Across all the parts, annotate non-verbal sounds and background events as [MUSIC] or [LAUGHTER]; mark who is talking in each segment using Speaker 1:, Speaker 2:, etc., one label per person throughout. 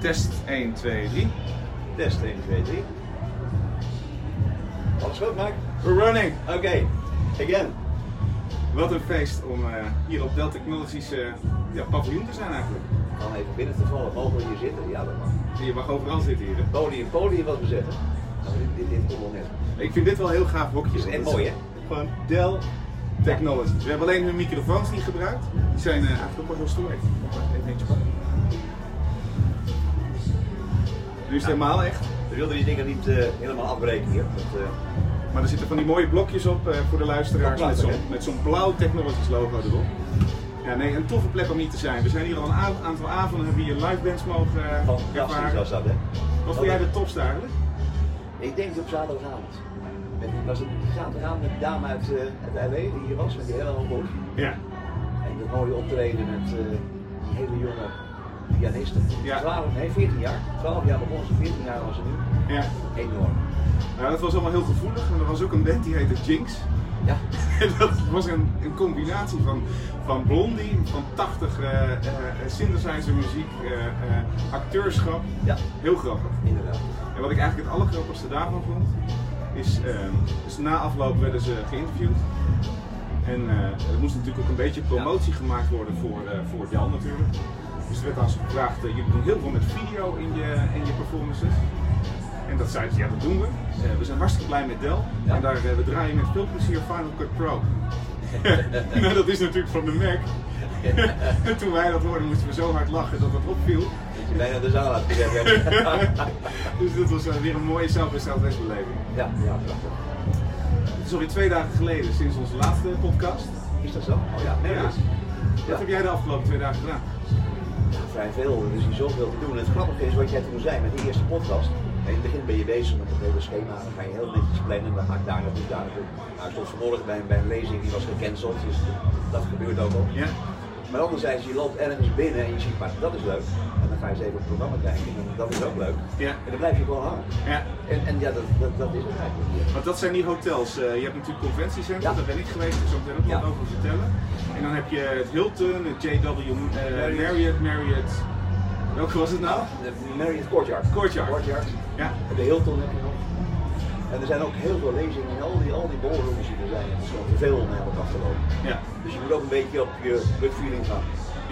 Speaker 1: Test 1, 2, 3.
Speaker 2: Test 1, 2, 3. Alles goed, Mike?
Speaker 1: We're running!
Speaker 2: Oké, again.
Speaker 1: Wat een feest om eh, hier op Dell Technologies eh, ja, paviljoen te zijn eigenlijk.
Speaker 2: Dan even binnen te vallen. Mogen we hier zitten? Ja, dat mag.
Speaker 1: Je mag overal zitten hier. hè.
Speaker 2: Podium, podium was bezet. hè? Nou, dit, dit, dit kon wel net.
Speaker 1: Ik vind dit wel een heel gaaf hokje.
Speaker 2: Is echt mooi, hè?
Speaker 1: Gewoon Dell Technologies. We hebben alleen hun microfoons niet gebruikt. Die zijn eh, eigenlijk ook wel heel stoer. Even, even eentje pakken. Nu is het helemaal echt.
Speaker 2: We wilden die dingen niet eh, helemaal afbreken hier. Dat, eh,
Speaker 1: Maar er zitten van die mooie blokjes op eh, voor de luisteraars
Speaker 2: Dat
Speaker 1: met
Speaker 2: klopt,
Speaker 1: zo'n,
Speaker 2: hè?
Speaker 1: met zo'n blauw Technologies logo erop. Ja, nee, een toffe plek om niet te zijn. We zijn hier al een a- aantal avonden, hebben we hier live bands mogen eh,
Speaker 2: fantastisch
Speaker 1: ervaren.
Speaker 2: was dat, hè?
Speaker 1: Wat vond jij de topste eigenlijk?
Speaker 2: Ik denk op zaterdagavond. Met, was het zaterdagavond met de dame uit, eh uit LA die hier was, met die hele hoge hoed.
Speaker 1: Ja.
Speaker 2: En dat mooie optreden met eh, die hele jonge pianiste.
Speaker 1: Ja.
Speaker 2: 12, nee, 14 jaar. 12 jaar begon ze, 14 jaar was ze nu.
Speaker 1: ja.
Speaker 2: Enorm.
Speaker 1: Nou, dat was allemaal heel gevoelig. En er was ook een band die heette Jinx. [LAUGHS]
Speaker 2: Ja,
Speaker 1: En dat was een, een combinatie van, van blondie, van 80 eh, eh, synthesizer muziek, eh, eh, acteurschap.
Speaker 2: ja,
Speaker 1: Heel grappig.
Speaker 2: inderdaad.
Speaker 1: En wat ik eigenlijk het allergrappigste daarvan vond, is, ehm, dus na afloop werden ze geïnterviewd. En eh, er moest natuurlijk ook een beetje promotie gemaakt worden voor, eh, voor Jan natuurlijk. Dus er werd aan ze gevraagd, eh, jullie doen heel veel met video in je, in je performances. En dat zeiden ze, ja dat doen we. Eh, we zijn hartstikke blij met Dell.
Speaker 2: Ja.
Speaker 1: En daar, eh, we draaien met veel plezier Final Cut Pro. [LAUGHS] [LAUGHS] nou dat is natuurlijk van de Mac. [LAUGHS] en toen wij dat hoorden moesten we zo hard lachen dat dat opviel.
Speaker 2: Dat je bijna de zaal uit gezet
Speaker 1: [LAUGHS]
Speaker 2: hebt.
Speaker 1: dus dat was eh, weer een mooie zelf en zelfwestbeleving.
Speaker 2: ja, ja, prachtig.
Speaker 1: Sorry, twee dagen geleden sinds onze laatste podcast.
Speaker 2: Is dat zo? Oh ja,
Speaker 1: Ja.
Speaker 2: nergens.
Speaker 1: Wat heb jij de afgelopen twee dagen gedaan?
Speaker 2: vrij veel. Er is hier zoveel te doen. En het grappige is wat jij toen zei met die eerste podcast. In het begin ben je bezig met het hele schema. Dan ga je heel netjes plannen. Dan ga ik daar naartoe, daar naartoe. Nou, ik stond vanmorgen bij, bij een lezing die was gecanceld. Dus dat gebeurt ook al.
Speaker 1: Ja.
Speaker 2: Maar anderzijds, je loopt ergens binnen en je ziet, maar dat is leuk. En dan ga je eens even op het programma kijken. En dat is ook leuk.
Speaker 1: Ja.
Speaker 2: En dan blijf je gewoon hangen.
Speaker 1: Ja.
Speaker 2: En, en ja, dat, dat, dat is het eigenlijk. hier.
Speaker 1: Want dat zijn die hotels. Eh, je hebt natuurlijk conventiecentra,
Speaker 2: Ja.
Speaker 1: daar ben ik geweest, daar zal ik daar ook nog
Speaker 2: Ja.
Speaker 1: wat over vertellen. En dan heb je het Hilton, het JW, eh
Speaker 2: Marriott.
Speaker 1: Marriott, Marriott. Welke was het nou?
Speaker 2: De Marriott Courtyard.
Speaker 1: Courtyard. Ja.
Speaker 2: En de Hilton heb je nog. En er zijn ook heel veel lezingen en al die, al die ballrooms die er zijn. Het is gewoon te veel om eigenlijk af te lopen.
Speaker 1: Ja.
Speaker 2: Dus je moet ook een beetje op je gut feeling gaan.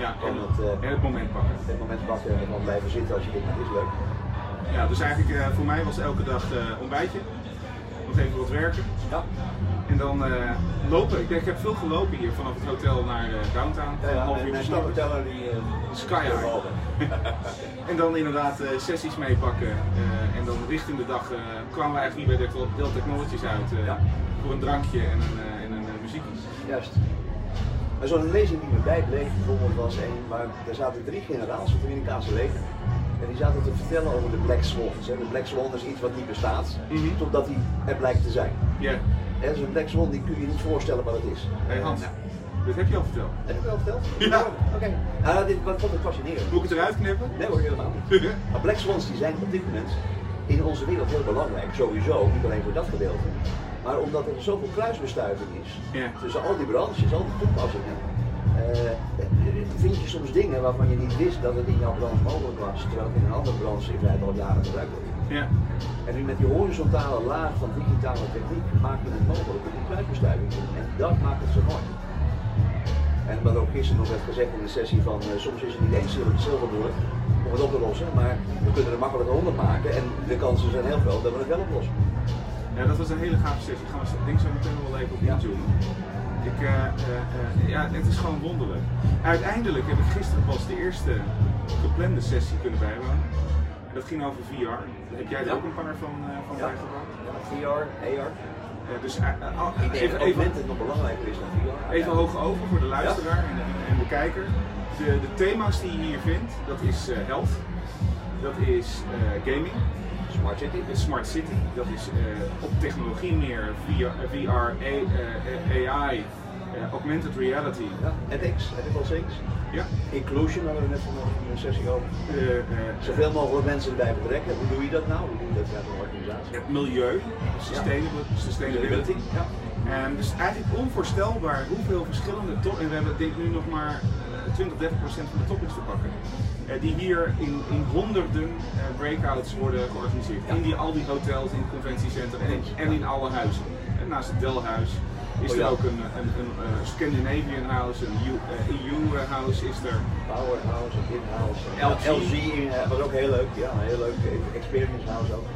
Speaker 1: ja.
Speaker 2: Van
Speaker 1: En,
Speaker 2: het, eh,
Speaker 1: en het moment pakken.
Speaker 2: op dit moment pakken en dan blijven zitten als je denkt, dat is leuk.
Speaker 1: Ja, dus eigenlijk eh, voor mij was elke dag eh, ontbijtje. Nog even wat werken.
Speaker 2: Ja.
Speaker 1: En dan eh, lopen. Ik, denk, ik heb veel gelopen hier vanaf het hotel naar eh, downtown.
Speaker 2: Ja,
Speaker 1: Een
Speaker 2: ja,
Speaker 1: half
Speaker 2: en
Speaker 1: uurtje
Speaker 2: mijn
Speaker 1: lopen.
Speaker 2: stappenteller die... eh,
Speaker 1: Sky
Speaker 2: die
Speaker 1: high.
Speaker 2: behalve. [LAUGHS]
Speaker 1: En dan inderdaad eh, sessies meepakken. eh, en dan richting de dag eh, kwamen we eigenlijk niet bij Del- Del Technologies uit. eh,
Speaker 2: Ja.
Speaker 1: Voor een drankje en een, eh, en een eh, muziekje.
Speaker 2: Juist. Maar zo'n lezing die me bijbleef bijvoorbeeld was één waar daar zaten drie generaals van het Amerikaanse leger. En die zaten te vertellen over de Black Swans. hè. De Black Swan is iets wat niet bestaat,
Speaker 1: Mhm.
Speaker 2: totdat die er blijkt te zijn.
Speaker 1: Ja,
Speaker 2: En zo'n Black Swan die kun je niet voorstellen wat het is.
Speaker 1: hey Hans,
Speaker 2: Ja.
Speaker 1: dit heb je al verteld.
Speaker 2: Heb ik wel verteld?
Speaker 1: Ja.
Speaker 2: Oké. Ah, dit wat vond ik fascinerend.
Speaker 1: Moet ik het eruit knippen?
Speaker 2: Nee hoor, helemaal niet. Maar Black Swans die zijn op dit moment in onze wereld heel belangrijk, sowieso, niet alleen voor dat gedeelte. Maar omdat er zoveel kruisbestuiving is
Speaker 1: Ja.
Speaker 2: tussen al die branches, al die toepassingen, eh, vind je soms dingen waarvan je niet wist dat het in jouw branche mogelijk was, terwijl het in een andere branche in feite al jaren gebruikt wordt.
Speaker 1: [LAUGHS] Ja.
Speaker 2: En nu met die horizontale laag van digitale techniek maak je het mogelijk om die kruisbestuiving te doen. En dat maakt het zo mooi. En wat ook gisteren nog werd gezegd in de sessie van eh, soms is het niet eens zilver zilverdoor om het op te lossen, maar we kunnen er makkelijk 100 maken en de kansen zijn heel groot dat we het wel oplossen.
Speaker 1: ja, dat was een hele gave sessie. Gaan we dat ding zo meteen wel even op
Speaker 2: Ja.
Speaker 1: YouTube. Ik, eh, eh, eh, ja, het is gewoon wonderlijk. Uiteindelijk heb ik gisteren pas de eerste geplande sessie kunnen bijwonen. En dat ging over VR. Daar heb jij er
Speaker 2: Ja.
Speaker 1: ook een paar van, eh, van
Speaker 2: Ja.
Speaker 1: bijgebracht.
Speaker 2: VR, AR.
Speaker 1: Eh, dus eh, eh, al-
Speaker 2: Ik denk
Speaker 1: even,
Speaker 2: dat het
Speaker 1: even,
Speaker 2: moment nog belangrijker is dan VR.
Speaker 1: even hoog over voor de luisteraar en, de, en de kijker. De, de thema's die je hier vindt, dat is eh, health, dat is eh, gaming,
Speaker 2: Smart City.
Speaker 1: dat is smart city, dat is eh, op technologie meer, VR, eh, VR A- eh, eh, AI, eh, augmented reality.
Speaker 2: Ja. ethics, ethical things.
Speaker 1: Ja.
Speaker 2: Inclusion hadden we net vanochtend in een sessie over.
Speaker 1: Eh, eh,
Speaker 2: Zoveel mogelijk mensen erbij betrekken. Hoe doe je dat nou? Hoe doe je dat uit een organisatie?
Speaker 1: het milieu, sustainable- sustainability.
Speaker 2: Ja.
Speaker 1: En dus eigenlijk onvoorstelbaar hoeveel verschillende top. En we hebben denk ik nu nog maar eh, 20, 30 procent van de topics te pakken. En eh, die hier in, in honderden eh, breakouts worden georganiseerd.
Speaker 2: Ja.
Speaker 1: In die, al die hotels, in het conventiecentra en, in- en in alle huizen. En naast het Delhuis is
Speaker 2: Oh ja.
Speaker 1: er ook een, een, een, eh, Scandinavian House, een E EU-house is er.
Speaker 2: Powerhouse, en in-house. en
Speaker 1: LG.
Speaker 2: in- eh, was ook heel leuk. Ja, een heel leuk eh, experience house ook.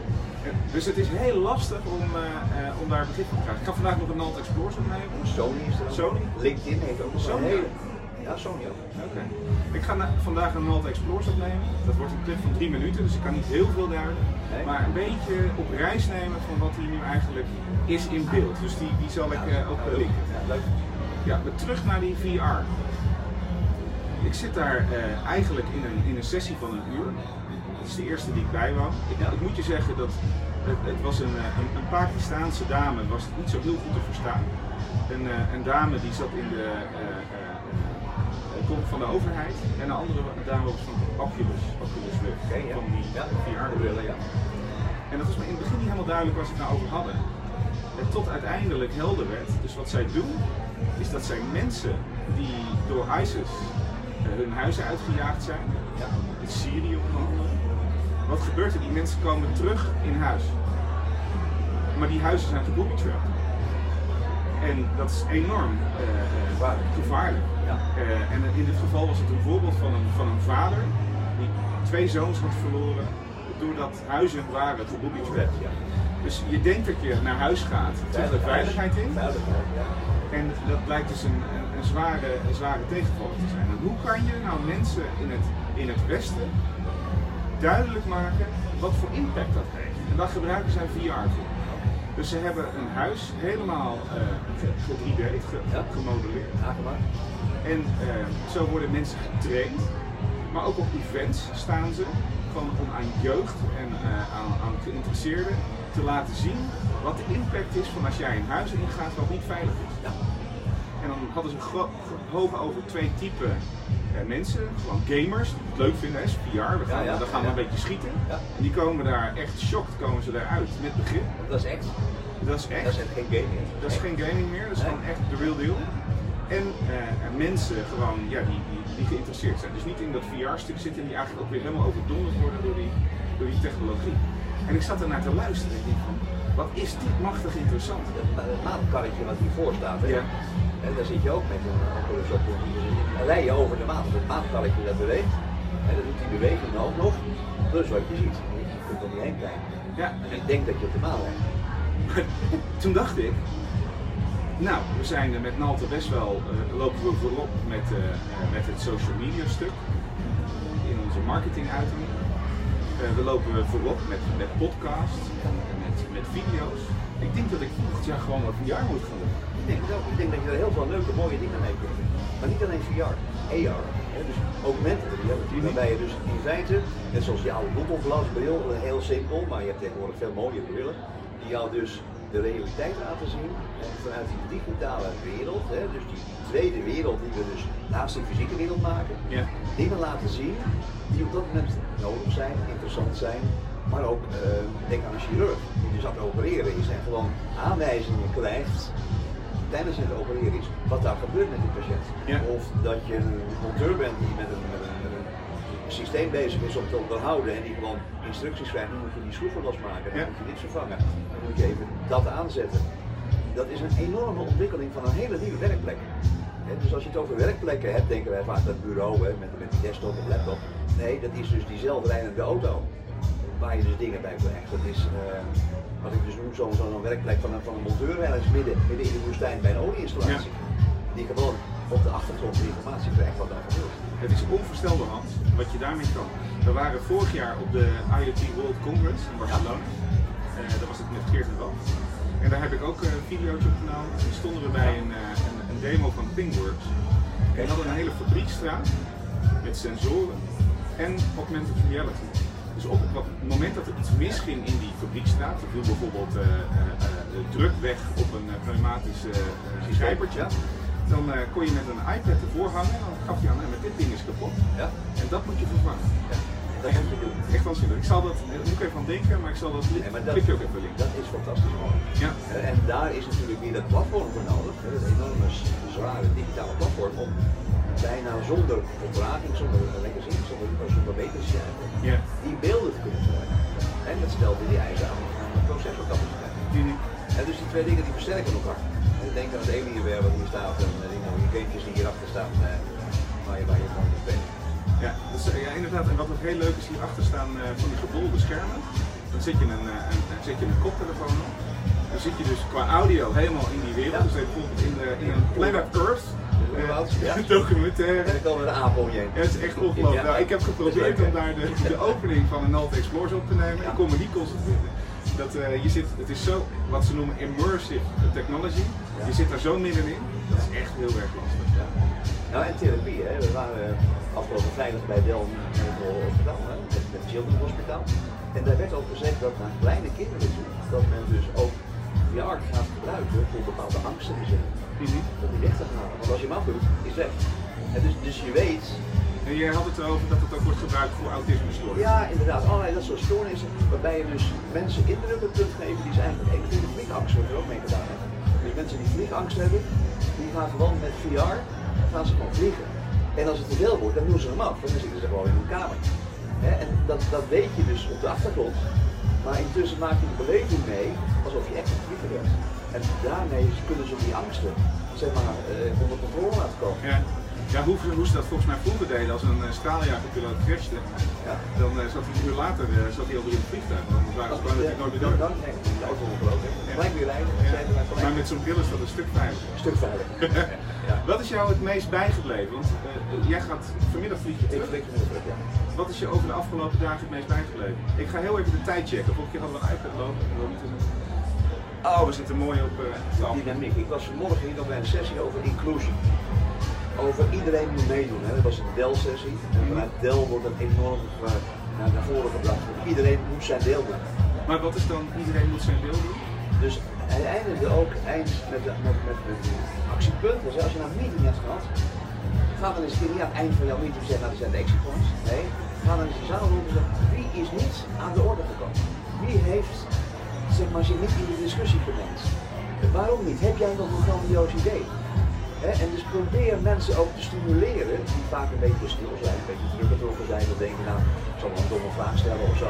Speaker 1: Eh, Dus het is heel lastig om, eh, eh, om daar begrip voor te krijgen. Ik ga vandaag nog een Nalt Explorers opnemen.
Speaker 2: Sony is er ook.
Speaker 1: Sony?
Speaker 2: LinkedIn heeft ook nog
Speaker 1: Sony?
Speaker 2: een hele... Ja, Sony ook.
Speaker 1: Oké. Ik ga na- vandaag een Malta Explorers opnemen. Dat wordt een clip van drie minuten, dus ik kan niet heel veel duiden.
Speaker 2: Nee.
Speaker 1: Maar een beetje op reis nemen van wat hier nu eigenlijk is in beeld. Dus die, die zal ik eh, ook eh, linken.
Speaker 2: Ja, leuk.
Speaker 1: Ja, maar terug naar die VR. Ik zit daar eh, eigenlijk in een, in een sessie van een uur. Dat is de eerste die ik bij was. Ik, ik moet je zeggen dat het, het was een, eh, een, een Pakistaanse dame, was het niet zo heel goed te verstaan. Een, eh, een dame die zat in de eh, eh, eh, kom van de overheid en een andere dame was van Oculus, Oculus Rift,
Speaker 2: Oké, ja.
Speaker 1: van die
Speaker 2: Ja.
Speaker 1: VR-brillen. Ja. En dat was me in het begin niet helemaal duidelijk waar ze het nou over hadden. En tot uiteindelijk helder werd. Dus wat zij doen, is dat zij mensen die door ISIS eh, hun huizen uitgejaagd zijn,
Speaker 2: Ja.
Speaker 1: in Syrië onder andere. Wat gebeurt er? Die mensen komen terug in huis. Maar die huizen zijn geboobietrapped. En dat is enorm eh, eh,
Speaker 2: Gevaarlijk.
Speaker 1: gevaarlijk.
Speaker 2: Ja.
Speaker 1: Eh, en in dit geval was het een voorbeeld van een, van een vader die twee zoons had verloren doordat huizen waren geboobietrapped.
Speaker 2: Ja.
Speaker 1: Dus je denkt dat je naar huis gaat, terug de veiligheid in.
Speaker 2: Veiligheid, ja.
Speaker 1: En dat blijkt dus een, een, een zware, een zware tegenvaller te zijn. En hoe kan je nou mensen in het, in het Westen duidelijk maken wat voor impact dat heeft? En daar gebruiken zij VR voor. Dus ze hebben een huis helemaal eh ge- ge- 3D, ge-
Speaker 2: Ja.
Speaker 1: gemodelleerd.
Speaker 2: Aangemaakt.
Speaker 1: En eh, zo worden mensen getraind, maar ook op events staan ze van, om aan jeugd en eh, aan, aan geïnteresseerden te laten zien wat de impact is van als jij een huis ingaat wat niet veilig is.
Speaker 2: Ja.
Speaker 1: En dan hadden ze gro- hoog over twee typen eh, mensen, gewoon gamers, die het leuk vinden, hè, is PR, we gaan,
Speaker 2: Ja, ja,
Speaker 1: we gaan
Speaker 2: ja.
Speaker 1: een beetje schieten.
Speaker 2: Ja.
Speaker 1: En die komen daar echt shocked, komen ze daaruit met begrip.
Speaker 2: Dat is echt.
Speaker 1: Dat is echt.
Speaker 2: Dat is echt geen game meer.
Speaker 1: Dat is geen gaming meer, dat is
Speaker 2: Nee.
Speaker 1: gewoon echt de real deal. En eh, en mensen gewoon, ja, die, die, die geïnteresseerd zijn. Dus niet in dat VR-stuk zitten die eigenlijk ook weer helemaal overdonderd worden door die, door die technologie. En ik zat ernaar te luisteren en ik denk van, wat is dit machtig interessant.
Speaker 2: Dat- Dat maatkarretje wat hiervoor staat, hè?
Speaker 1: Ja.
Speaker 2: En daar zit je ook met een Oculus op. Dan rij je over de maat. Dus Het maatkarretje dat beweegt. En dan doet die beweging ook nog. Plus wat je ziet. Je kunt er niet heen kijken.
Speaker 1: Ja,
Speaker 2: En ik denk dat je op de maan rijdt.
Speaker 1: toen dacht ik, nou, we zijn er met Nalte best wel, eh, lopen we voorop met, eh, eh, met het social media stuk in onze marketinguiting. Eh, we lopen voorop met, met podcasts en met, met video's. Ik denk dat ik volgend jaar gewoon wat VR moet gaan doen.
Speaker 2: Ik denk het ook. Ik denk dat je er heel veel leuke, mooie dingen mee kunt. doen. Maar niet alleen VR, AR. Hè? Dus augmented reality. Waarbij je dus in feite, net zoals die oude Google Glass bril, eh, heel simpel, maar je hebt tegenwoordig veel mooie brillen, die jou dus de realiteit laten zien en vanuit die digitale wereld, hè? dus die tweede wereld die we dus naast de fysieke wereld maken,
Speaker 1: Ja.
Speaker 2: dingen laten zien die op dat moment nodig zijn, interessant zijn. Maar ook, eh, denk aan een chirurg die dus aan het opereren is en gewoon aanwijzingen krijgt tijdens het opereren is wat daar gebeurt met die patiënt.
Speaker 1: Ja.
Speaker 2: Of dat je een monteur bent die met een, met een- met een systeem bezig is om te onderhouden en die gewoon instructies krijgt, dan moet je die schroeven losmaken, dan
Speaker 1: Ja.
Speaker 2: moet je dit vervangen, dan moet je even dat aanzetten. Dat is een enorme ontwikkeling van een hele nieuwe werkplek. Hè, dus als je het over werkplekken hebt, denken wij vaak dat bureau hè, met, met die desktop of laptop. Nee, dat is dus die zelfrijdende auto. Waar je dus dingen bij krijgt. Dat is eh, wat ik dus noem zo'n zo'n werkplek van een, van een monteur ergens midden, midden in de woestijn bij een olieinstallatie. Die gewoon op de achtergrond de informatie krijgt wat daar gebeurt.
Speaker 1: Het is onvoorstelbaar, Hans, wat je daarmee kan. We waren vorig jaar op de IoT World Congress in Barcelona. Eh dat was het met Geert en Ralf. En daar heb ik ook eh, een videootje opgenomen. Toen stonden we bij een, eh, een, een demo van Pingworks. En die hadden een hele fabriekstraat met sensoren en augmented reality. Dus op het wat- moment dat er iets misging in die fabriekstraat, er viel bijvoorbeeld eh, eh, eh, de druk weg op een eh, pneumatisch eh, eh, grijpertje, dan eh, kon je met een iPad ervoor hangen en dan gaf hij aan, "Nou, met dit ding is kapot.
Speaker 2: Ja?
Speaker 1: En dat moet je vervangen.
Speaker 2: ja. Dat moet je doen.
Speaker 1: Echt waanzinnig. Ik zal dat, daar moet ik even aan denken, maar ik zal dat li-
Speaker 2: Nee, maar dat,
Speaker 1: clipje ook even linken.
Speaker 2: dat is fantastisch mooi.
Speaker 1: Ja.
Speaker 2: Hè, En daar is natuurlijk weer dat platform voor nodig. hè, Dat enorme s- zware digitale platform om bijna zonder vertraging, zonder lekkers in, zonder, zonder die eisen aan de processorcapaciteit. En dus die twee dingen die versterken elkaar. En ik denk aan het Alienware wat hier staat en eh, die nou, die gametjes die hierachter staan, eh, waar je, waar je gewoon mee bent.
Speaker 1: Ja, dat is, eh, ja, inderdaad. En wat nog heel leuk is, hierachter staan eh, van die gebolde schermen. Dan zet je een, eh, een, dan zet je een koptelefoon op. Dan zit je dus qua audio helemaal in die wereld.
Speaker 2: Ja.
Speaker 1: Dus bijvoorbeeld in, de, in een Planet Earth eh,
Speaker 2: Ja.
Speaker 1: [LAUGHS] documentaire.
Speaker 2: En dan komen er apen om je heen.
Speaker 1: Ja, het is echt ongelooflijk.
Speaker 2: Ja.
Speaker 1: Nou, ik heb
Speaker 2: Dat
Speaker 1: geprobeerd
Speaker 2: is leuk,
Speaker 1: om
Speaker 2: hè?
Speaker 1: daar de, de opening van een Alt Explorers op te nemen.
Speaker 2: Ja.
Speaker 1: Ik kon me niet concentreren. Dat, eh, je zit, het is zo, wat ze noemen immersive technology.
Speaker 2: Ja.
Speaker 1: Je zit daar zo middenin. Dat is echt heel erg lastig.
Speaker 2: Ja. Nou, en therapie, hè. We waren eh, afgelopen vrijdag bij Delm Hospitaal, hè, het het Children's Hospitaal. En daar werd ook gezegd dat naar kleine kinderen toe, dat men dus ook VR gaat gebruiken voor bepaalde angsten te zetten.
Speaker 1: Mhm.
Speaker 2: Om die weg te halen. Want als je hem afdoet, is het weg. En dus, dus je weet,
Speaker 1: En jij had het erover dat het ook wordt gebruikt voor autisme stories.
Speaker 2: ja inderdaad, allerlei dat soort stoornissen, waarbij je dus mensen indrukken kunt geven die ze eigenlijk even in de vliegangst wordt er ook mee gedaan. Hè. Dus mensen die vliegangst hebben, die gaan gewoon met VR, gaan ze gewoon vliegen. En als het te veel wordt, dan doen ze hem af, dan zitten ze gewoon in hun kamer. Hè, en dat, dat weet je dus op de achtergrond, maar intussen maak je de beleving mee alsof je echt een vlieger bent. En daarmee kunnen ze die angsten, zeg maar, eh, onder controle laten komen.
Speaker 1: Ja, ja hoe, hoe ze dat volgens mij vroeger deden als een eh, straaljagerpiloot crashte,
Speaker 2: Ja.
Speaker 1: dan eh, zat hij een uur later eh, zat hij alweer in het vliegtuig. Want Dan
Speaker 2: Oh,
Speaker 1: waren ze bang dat hij nooit meer dood was. Ja. Ja. Maar met zo'n bril is dat een stuk veiliger.
Speaker 2: Een stuk veiliger. Ja.
Speaker 1: Wat is jou het meest bijgebleven? Want eh, jij gaat vanmiddag vlieg je
Speaker 2: Ik
Speaker 1: terug.
Speaker 2: flik hem terug, ja.
Speaker 1: Wat is je over de afgelopen dagen het meest bijgebleven? Ik ga heel even de tijd checken. Vorige keer hadden we een iPad lopen. Ik wil niet te- Oh, we zitten mooi op eh, het af.
Speaker 2: Dynamiek. Ik was vanmorgen hier nog bij een sessie over inclusie. Over iedereen moet meedoen. Hè. Dat was een Dell-sessie. En vanuit Dell wordt dat enorm eh, naar, naar voren gebracht. Want Iedereen moet zijn deel doen.
Speaker 1: Maar wat is dan, iedereen moet zijn wil doen?
Speaker 2: Dus hij eindigde ook eind met, de- met, met, met een actiepunt. Dus als je nou een meeting hebt gehad, ga dan eens een keer niet aan het eind van jouw meeting zeggen, nou, er zijn de actiepunten. Nee, ga dan eens de zaal rond en zeg, wie is niet aan de orde gekomen? Wie heeft, zeg maar, zich niet in de discussie vermengd? Waarom niet? Heb jij nog een grandioos idee? Hè, en dus probeer mensen ook te stimuleren die vaak een beetje stil zijn, een beetje teruggetrokken zijn, dat denken, nou, ik zal wel een domme vraag stellen of zo.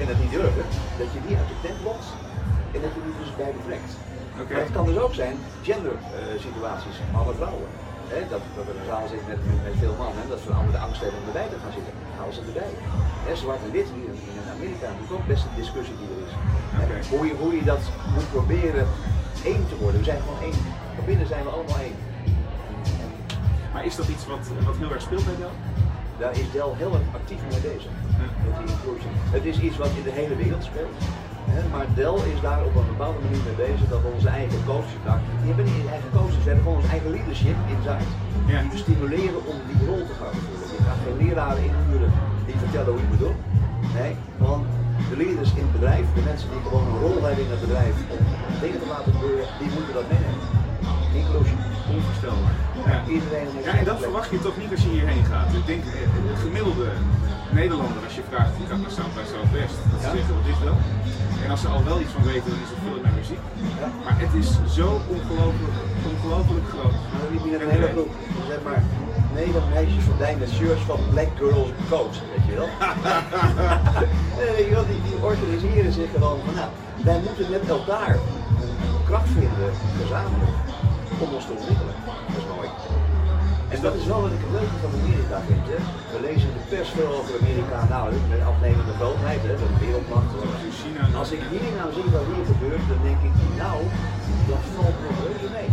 Speaker 2: En dat niet durven, dat je die uit de tent lokt en dat je die dus bij betrekt.
Speaker 1: Oké.
Speaker 2: Maar het kan dus ook zijn gendersituaties, situaties, mannen, vrouwen. Hè, dat, dat er een zaal zit met, met, met veel mannen, dat vrouwen de angst hebben om erbij te gaan zitten. Haal ze erbij. Hè, zwart en wit hier in, in Amerika, dat is ook best een discussie die er is. Hè,
Speaker 1: Oké.
Speaker 2: Hoe, je, hoe je dat moet proberen één te worden. We zijn gewoon één. Van binnen zijn we allemaal één.
Speaker 1: Maar is dat iets wat, wat heel erg speelt bij jou?
Speaker 2: Daar is Del heel erg actief mee bezig. Met die inclusie. Het is iets wat in de hele wereld speelt. Hè? Maar Del is daar op een bepaalde manier mee bezig dat we onze eigen coaches, nou, die hebben niet hun eigen coaches, we hebben gewoon ons eigen leadership inzijd.
Speaker 1: Ja.
Speaker 2: Die we stimuleren om die rol te gaan vervullen. Je gaat geen leraren inhuren die vertellen hoe je moet doen. Nee, want de leaders in het bedrijf, de mensen die gewoon een rol hebben in het bedrijf om dingen te laten gebeuren, die moeten dat meenemen. Inclusie.
Speaker 1: Onvoorstelbaar. Ja.
Speaker 2: Iedereen heeft
Speaker 1: Ja, en dat
Speaker 2: zijn plek.
Speaker 1: verwacht je toch niet als je hierheen gaat. Ik denk, eh, de gemiddelde Nederlander, als je vraagt, die gaat naar Sound by Southwest, dat ze
Speaker 2: Ja.
Speaker 1: zeggen, wat is dat? En als ze al wel iets van weten, dan is het veel naar muziek.
Speaker 2: Ja.
Speaker 1: Maar het is zo ongelooflijk, ongelooflijk groot.
Speaker 2: Maar dan liep je met een hele groep, zeg maar, negen meisjes van Dijn met shirts van Black Girls Coach, weet je wel. nee, weet je wel, die, die organiseren zich gewoon van, nou, wij moeten met elkaar een kracht vinden, gezamenlijk, om ons te ontwikkelen. Dat is mooi. En dat is wel wat ik het leuke van Amerika vind. Hè. We lezen in de pers veel over Amerika, nou, dat is een afnemende grootheid, hè, de wereldmacht.
Speaker 1: In China.
Speaker 2: Als ik hier nou zie wat hier gebeurt, dan denk ik, nou, dat valt nog reuze mee.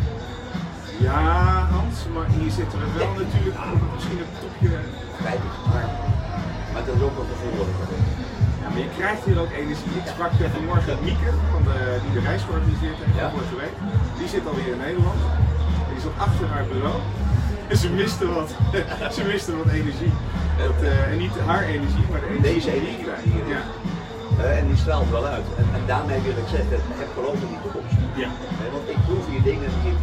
Speaker 1: Ja, Hans, maar hier zitten we wel natuurlijk op misschien een topje.
Speaker 2: spijtig, maar, maar dat is ook een gevoel dat ik heb.
Speaker 1: Ja, maar je krijgt hier ook energie. Ik sprak eh, vanmorgen Mieke, van de, die de reis georganiseerd heeft
Speaker 2: Ja.
Speaker 1: vorige week. Die zit alweer in Nederland. Die zat achter haar bureau. [LAUGHS] En ze miste wat, [LAUGHS] ze miste wat energie. Dat, eh, en niet haar energie, maar de energie
Speaker 2: Deze
Speaker 1: die je
Speaker 2: energie
Speaker 1: krijgt.
Speaker 2: die hier is.
Speaker 1: Ja.
Speaker 2: Eh, en die straalt wel uit. En, en daarmee wil ik zeggen, heb geloof in die toekomst.
Speaker 1: Ja.
Speaker 2: Eh, want ik proef hier dingen die ik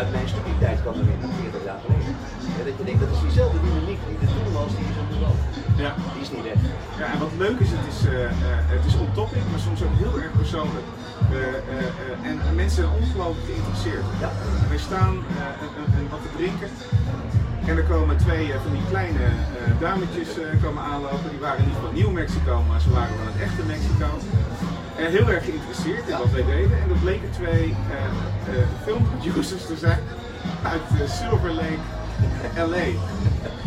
Speaker 2: uit mijn studietijd kan herinneren, 40 jaar geleden. Eh, dat je denkt, dat is diezelfde dynamiek die er toen was, die is er nu ook.
Speaker 1: Ja.
Speaker 2: Die is niet weg.
Speaker 1: Ja, en wat leuk is, het is, eh, eh, het is on topic, maar soms ook heel erg persoonlijk. Eh, eh, eh, en mensen zijn ongelooflijk geïnteresseerd.
Speaker 2: Ja.
Speaker 1: We staan eh, en, en- en wat te drinken. En er komen twee eh, van die kleine eh, dametjes eh, komen aanlopen. Die waren niet van Nieuw-Mexico, maar ze waren van het echte Mexico. eh, heel erg geïnteresseerd in wat wij deden. En dat bleken twee eh, eh, filmproducers te zijn uit eh, Silver Lake, LA.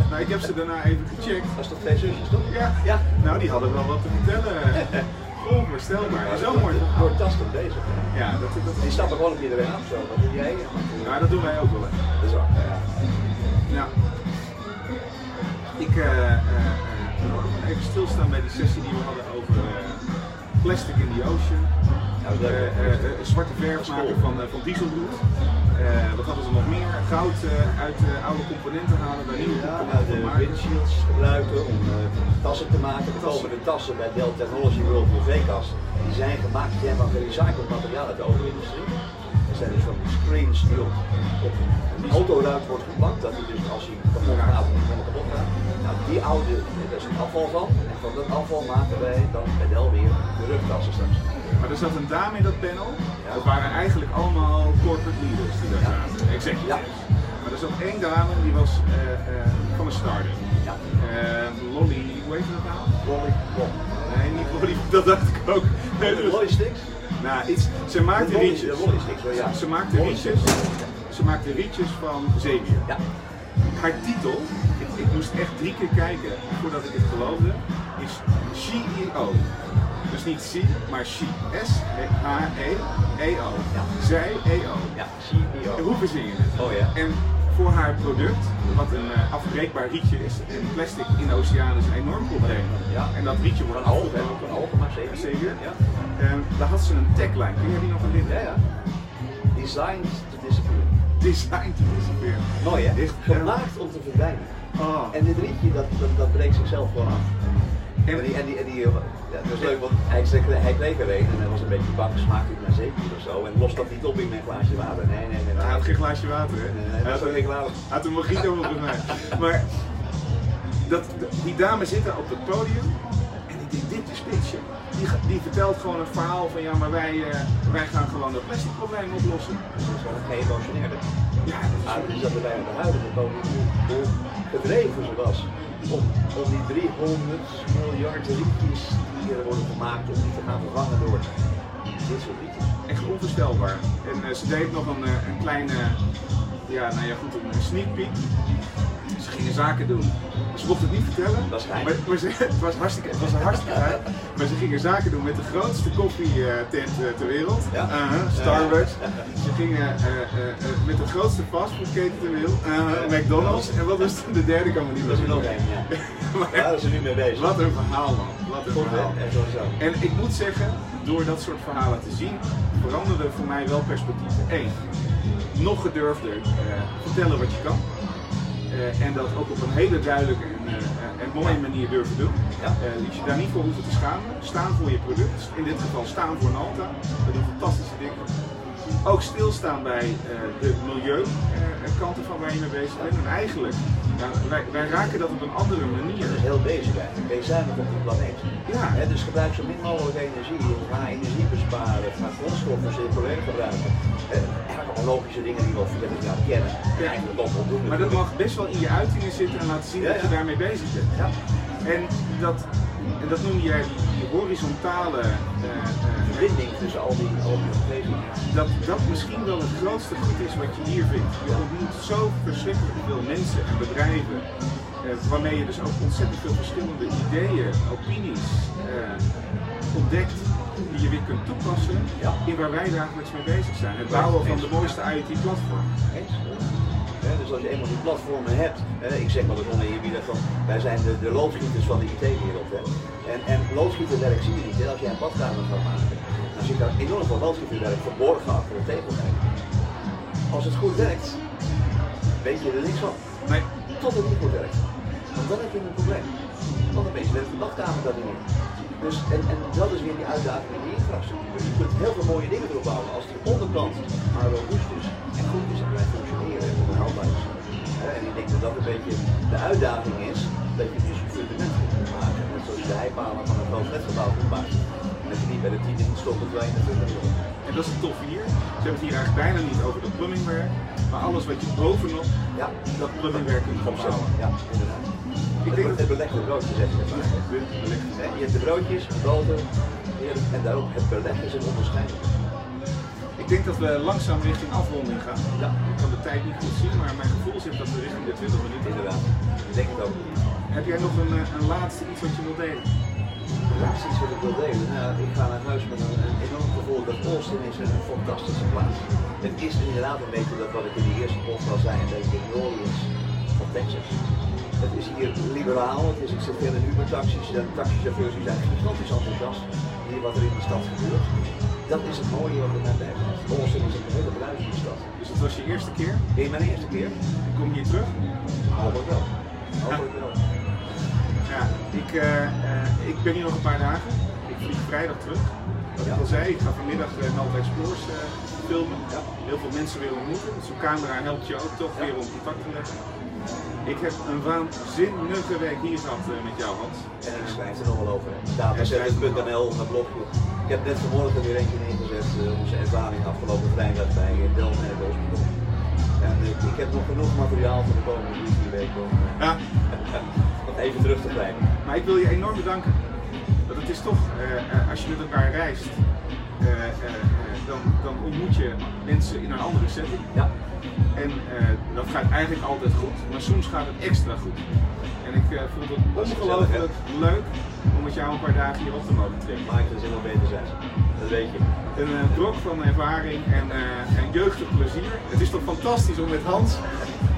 Speaker 1: Nou, ik heb ze daarna even gecheckt.
Speaker 2: Dat is toch twee zusjes, toch?
Speaker 1: Ja,
Speaker 2: Ja.
Speaker 1: nou die hadden wel wat te
Speaker 2: [LAUGHS]
Speaker 1: vertellen. Onvoorstelbaar, dat is zo mooi. verhaal.
Speaker 2: Fantastisch bezig.
Speaker 1: Ja, dat, dat,
Speaker 2: Die stappen gewoon op iedereen af, zo. Wat doe jij?
Speaker 1: nou, dat doen wij ook wel. hè.
Speaker 2: Dat is waar. Ja.
Speaker 1: Ja. Ik eh eh, eh, even stilstaan bij die sessie die we hadden over eh, plastic in the ocean.
Speaker 2: dat is leuk.
Speaker 1: Eh, eh, eh, zwarte verf maken van, eh, van dieselbloed. Eh, wat hadden ze nog meer? Goud eh, uit eh, oude componenten halen, daar nieuwe
Speaker 2: Ja, nou,
Speaker 1: componenten van
Speaker 2: de
Speaker 1: maken.
Speaker 2: windshields gebruiken om eh, tassen te maken.
Speaker 1: Tassen.
Speaker 2: Bijvoorbeeld de tassen bij Dell Technology World UV-kasten. Die zijn gemaakt die zijn van gerecycled materiaal uit de auto-industrie. Er zijn dus van die screens die op, op een autoruit wordt geplakt. Dat die dus als hij kapot gaat, of helemaal kapot gaat. Nou, die oude, eh, daar is een afval van. En van dat afval maken wij dan bij Dell weer de rugtassen straks.
Speaker 1: Maar er zat een dame in dat panel.
Speaker 2: Ja.
Speaker 1: Dat waren eigenlijk allemaal corporate leaders die daar
Speaker 2: Ja.
Speaker 1: zaten. Executives.
Speaker 2: Ja.
Speaker 1: Maar er zat één dame die was eh, eh, van een start-up.
Speaker 2: Ja,
Speaker 1: Eh, Lolly, hoe heet dat nou?
Speaker 2: Lolly, Lolly.
Speaker 1: Nee, niet Lolly, [LAUGHS] dat dacht ik ook. Nee, dat was-
Speaker 2: Lolly sticks?
Speaker 1: Nou, iets, ze maakte
Speaker 2: De lolly-
Speaker 1: rietjes.
Speaker 2: de lolly sticks, wel, ja.
Speaker 1: Ze maakte
Speaker 2: Lolly
Speaker 1: rietjes. Ze maakte rietjes van zeewier.
Speaker 2: Ja.
Speaker 1: Haar titel, ik, ik moest echt drie keer kijken voordat ik het geloofde, is CEO. Dus niet she, maar she. S-H-E-E-O.
Speaker 2: Ja.
Speaker 1: E Zij E EO.
Speaker 2: Ja, CEO.
Speaker 1: En Hoe verzin je het?
Speaker 2: Oh ja.
Speaker 1: En voor haar product, wat een eh, afbreekbaar rietje is, en plastic in de oceaan is een enorm probleem.
Speaker 2: Ja.
Speaker 1: En dat rietje wordt
Speaker 2: Van Algen, hè? Van Algen, maar zeker.
Speaker 1: Zeker.
Speaker 2: Ja.
Speaker 1: En daar had ze een tagline, kun je die nog herinneren?
Speaker 2: Ja, ja. Designed to disappear.
Speaker 1: Design te disappear.
Speaker 2: Mooi hè?
Speaker 1: Echt, eh,
Speaker 2: Gemaakt om te verdwijnen.
Speaker 1: Oh.
Speaker 2: En dit rietje, dat, dat, dat breekt zichzelf gewoon af.
Speaker 1: En-
Speaker 2: En, die, en, die, en die, eh, ja, dat is leuk, want hij, zegt- hij kreeg er een en hij was een beetje bang, smaakte het naar zeepier of zo. En lost dat niet op in mijn glaasje water. Nee, nee, nee. nee.
Speaker 1: Hij had geen glaasje water, hè?
Speaker 2: Nee, nee, dat is ook geen glaasje.
Speaker 1: Hij had een mojito volgens mij. Maar dat, die dame zit daar op het podium en ik denk, dit is pitchen. Die, ge- die vertelt gewoon een verhaal van, ja, maar wij, eh, wij gaan gewoon dat plastic probleem oplossen.
Speaker 2: Dus dat is gewoon een geëmotioneerde.
Speaker 1: Ja,
Speaker 2: Maar
Speaker 1: dat
Speaker 2: toen
Speaker 1: is
Speaker 2: zaten wij aan de huidige koning hoe gedreven ze was om, om die 300 miljard rietjes die er worden gemaakt, om die te gaan vervangen door dit soort rietjes.
Speaker 1: echt onvoorstelbaar. En eh, ze deed nog een, eh, een kleine, ja, nou ja, goed, een sneak peek. Ze gingen zaken doen. Ze mocht het niet vertellen.
Speaker 2: Dat is geheim.
Speaker 1: maar, maar ze, [LAUGHS] het was hartstikke, het was een hartstikke geheim. Maar ze gingen zaken doen met de grootste koffietent eh, ter wereld.
Speaker 2: Ja.
Speaker 1: Uh-huh, Starbucks. Ze gingen eh, eh, eh, met de grootste fastfoodketen ter wereld. Uh-huh, McDonald's. En wat was de derde kan me niet
Speaker 2: Dat is er
Speaker 1: meer
Speaker 2: nog één,
Speaker 1: [LAUGHS]
Speaker 2: ja.
Speaker 1: Maar-
Speaker 2: Daar zijn ze nu mee bezig.
Speaker 1: Wat een verhaal man, wat een
Speaker 2: Goed, hè?
Speaker 1: verhaal.
Speaker 2: En sowieso.
Speaker 1: En ik moet zeggen, door dat soort verhalen te zien, veranderde voor mij wel perspectief. Eén, nog gedurfder eh, vertellen wat je kan. Eh, en dat ook op een hele duidelijke en, eh, eh, en mooie manier durven doen.
Speaker 2: Ja.
Speaker 1: Eh, dat je daar niet voor hoeft te schamen. Staan voor je product. In dit geval staan voor Nalta. Dat doen fantastische dingen. Ook stilstaan bij eh, de milieukanten van waar je mee bezig bent. En eigenlijk, ja, wij, wij raken dat op een andere manier.
Speaker 2: Dat is heel bezig eigenlijk. Ben je zuinig op de planeet?
Speaker 1: Ja.
Speaker 2: Hè, dus gebruik zo min mogelijk energie. Ga energie besparen. Ga grondstoffen circulair gebruiken. Eh, Eigenlijk allemaal logische dingen die we al 40 jaar kennen. En eigenlijk ook voldoende.
Speaker 1: Maar dat mag best wel in je uitingen zitten en laten zien
Speaker 2: Ja,
Speaker 1: dat je
Speaker 2: ja.
Speaker 1: daarmee bezig bent.
Speaker 2: Ja.
Speaker 1: En dat, en dat noemde jij die, die horizontale eh, eh,
Speaker 2: verbinding tussen al die, al die omgevingen.
Speaker 1: dat dat misschien wel het grootste goed is wat je hier vindt. Je ontmoet zo verschrikkelijk veel mensen en bedrijven, eh, waarmee je dus ook ontzettend veel verschillende ideeën, opinies eh, ontdekt die je weer kunt toepassen
Speaker 2: Ja.
Speaker 1: in waar wij dagelijks mee bezig zijn. Het
Speaker 2: Ja,
Speaker 1: bouwen van
Speaker 2: eens.
Speaker 1: de mooiste IoT-platform.
Speaker 2: Eens? Hè, dus als je eenmaal die platformen hebt, hè, ik zeg maar dat oneerbiedig van, wij zijn de, de loodgieters van de IT-wereld. hè. En, en loodgieterwerk zie je niet. Hè. Als jij een badkamer gaat maken, dan zit daar enorm veel loodgieterwerk verborgen achter de tegelwerk. Als het goed werkt, weet je er niks van.
Speaker 1: Nee,
Speaker 2: Tot het niet goed werkt. Want dan heb je een probleem. Want dan ben je met de badkamer dat niet meer. Dus, en, en dat is weer die uitdaging in die infrastructuur. Dus Je kunt heel veel mooie dingen erop bouwen als die onderkant maar robuust is en goed is en blijft functioneren en onderhoudbaar is. Hè, En ik denk dat dat een beetje de uitdaging is, dat je dus een fundament moet maken. Net zoals je de heipalen van een groot flatgebouw moet maken. En dat je niet bij de tien in stopt, dat wij in de fundament
Speaker 1: En dat is het toffe hier. Ze hebben het hier eigenlijk bijna niet over dat plumbingwerk, maar alles wat je bovenop
Speaker 2: Ja,
Speaker 1: dat plumbingwerk kunt gaan bouwen.
Speaker 2: Ja, inderdaad.
Speaker 1: Ik
Speaker 2: Het
Speaker 1: denk
Speaker 2: wordt het
Speaker 1: dat
Speaker 2: belegde brood gezegd. zeg maar. Hè, Je hebt de broodjes, boter, heerlijk, en daarop het beleg is een onderscheid.
Speaker 1: Ik denk dat we langzaam richting afronding gaan.
Speaker 2: Ja,
Speaker 1: Ik kan de tijd niet goed zien, maar mijn gevoel zegt dat we richting de 20 minuten gaan.
Speaker 2: inderdaad. Ik denk het ook.
Speaker 1: Heb jij nog een, eh, een laatste iets wat je wilt delen?
Speaker 2: Precies wat ik wil delen. Nou, ik ga naar huis met een, een enorm gevoel dat Austin is een fantastische plaats. Het is inderdaad een beetje dat wat ik in de eerste podcast zei, een beetje New Orleans van Texas. Het is hier liberaal, het is, ik zit veel in Uber-taxis, de taxichauffeurs die zijn gigantisch enthousiast hier wat er in de stad gebeurt. Dat is het mooie wat er net bij komt. Austin is een hele bruisende stad.
Speaker 1: Dus het was je eerste keer.
Speaker 2: Dit is mijn eerste keer.
Speaker 1: Ik kom hier terug.
Speaker 2: Hopelijk wel. Hopelijk wel.
Speaker 1: Ja, ik, eh, eh, ik ben hier nog een paar dagen. Ik vlieg vrijdag terug. Wat ik
Speaker 2: Ja.
Speaker 1: al zei, ik ga vanmiddag uh, Nalt Explores eh, filmen.
Speaker 2: Ja.
Speaker 1: Heel veel mensen weer ontmoeten. Dus Zo'n camera helpt je ook toch
Speaker 2: Ja.
Speaker 1: weer om contact te leggen. Ik heb een waanzinnige week hier gehad eh, met jou, Hans.
Speaker 2: En ik
Speaker 1: Eh,
Speaker 2: schrijf er nog wel over.
Speaker 1: Ja, schrijf er nog wel.
Speaker 2: Datazetten.nl, mijn blogje. Ik heb net vanmorgen weer eentje neergezet, eh, onze ervaring afgelopen vrijdag bij eh, Delmer Hospital. En eh, ik heb nog genoeg materiaal voor de komende drie week om eh, [LAUGHS]
Speaker 1: ja,
Speaker 2: om even terug te blijven.
Speaker 1: Maar ik wil je enorm bedanken. Want het is toch, eh, eh, als je met elkaar reist, eh, eh, eh, dan, dan ontmoet je mensen in een andere setting.
Speaker 2: Ja,
Speaker 1: En eh, dat gaat eigenlijk altijd goed, maar soms gaat het extra goed. En ik eh, vond
Speaker 2: Dat is
Speaker 1: het ongelooflijk
Speaker 2: gezellig,
Speaker 1: leuk om met jou een paar dagen hier op te mogen trekken.
Speaker 2: maakt het zin wel beter zijn. Dat weet je.
Speaker 1: Een eh, brok van ervaring en, eh, en jeugdig plezier. Het is toch fantastisch om met Hans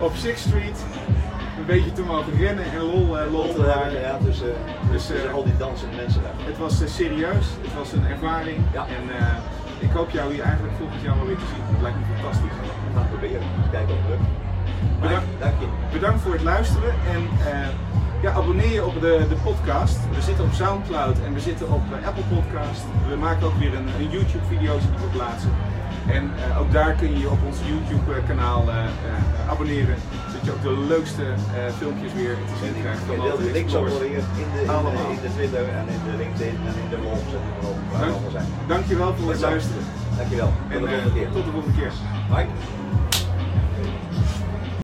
Speaker 1: op Sixth Street een beetje te mogen rennen en lol, eh, lol
Speaker 2: Lot
Speaker 1: te maken.
Speaker 2: ja, tussen,
Speaker 1: Dus,
Speaker 2: tussen
Speaker 1: eh,
Speaker 2: al die dansende mensen daar.
Speaker 1: Het was eh, serieus, het was een ervaring.
Speaker 2: Ja.
Speaker 1: En eh, ik hoop jou hier eigenlijk volgend jaar wel weer te zien. Het lijkt me fantastisch.
Speaker 2: We gaan het proberen. Kijken of het lukt. Maar,
Speaker 1: Bedankt.
Speaker 2: Dank je.
Speaker 1: Bedankt voor het luisteren en eh, ja, abonneer je op de, de podcast. We zitten op Soundcloud en we zitten op eh, Apple Podcast. We maken ook weer een, een YouTube video's die we plaatsen. En eh, ook daar kun je je op ons YouTube eh, kanaal eh, eh, abonneren. Zodat je ook de leukste eh, filmpjes weer te zien krijgt
Speaker 2: Ik
Speaker 1: van
Speaker 2: deel de
Speaker 1: Walter
Speaker 2: links ook
Speaker 1: Explores.
Speaker 2: wel weer in de, in, de,
Speaker 1: Allemaal.
Speaker 2: in de Twitter en in de LinkedIn en in de blogs en in de blog, waar we
Speaker 1: Dank,
Speaker 2: allemaal zijn.
Speaker 1: dankjewel voor het
Speaker 2: Bedankt.
Speaker 1: luisteren.
Speaker 2: Dankjewel. Tot
Speaker 1: En
Speaker 2: de
Speaker 1: eh,
Speaker 2: volgende keer.
Speaker 1: tot de volgende keer.
Speaker 2: Bye.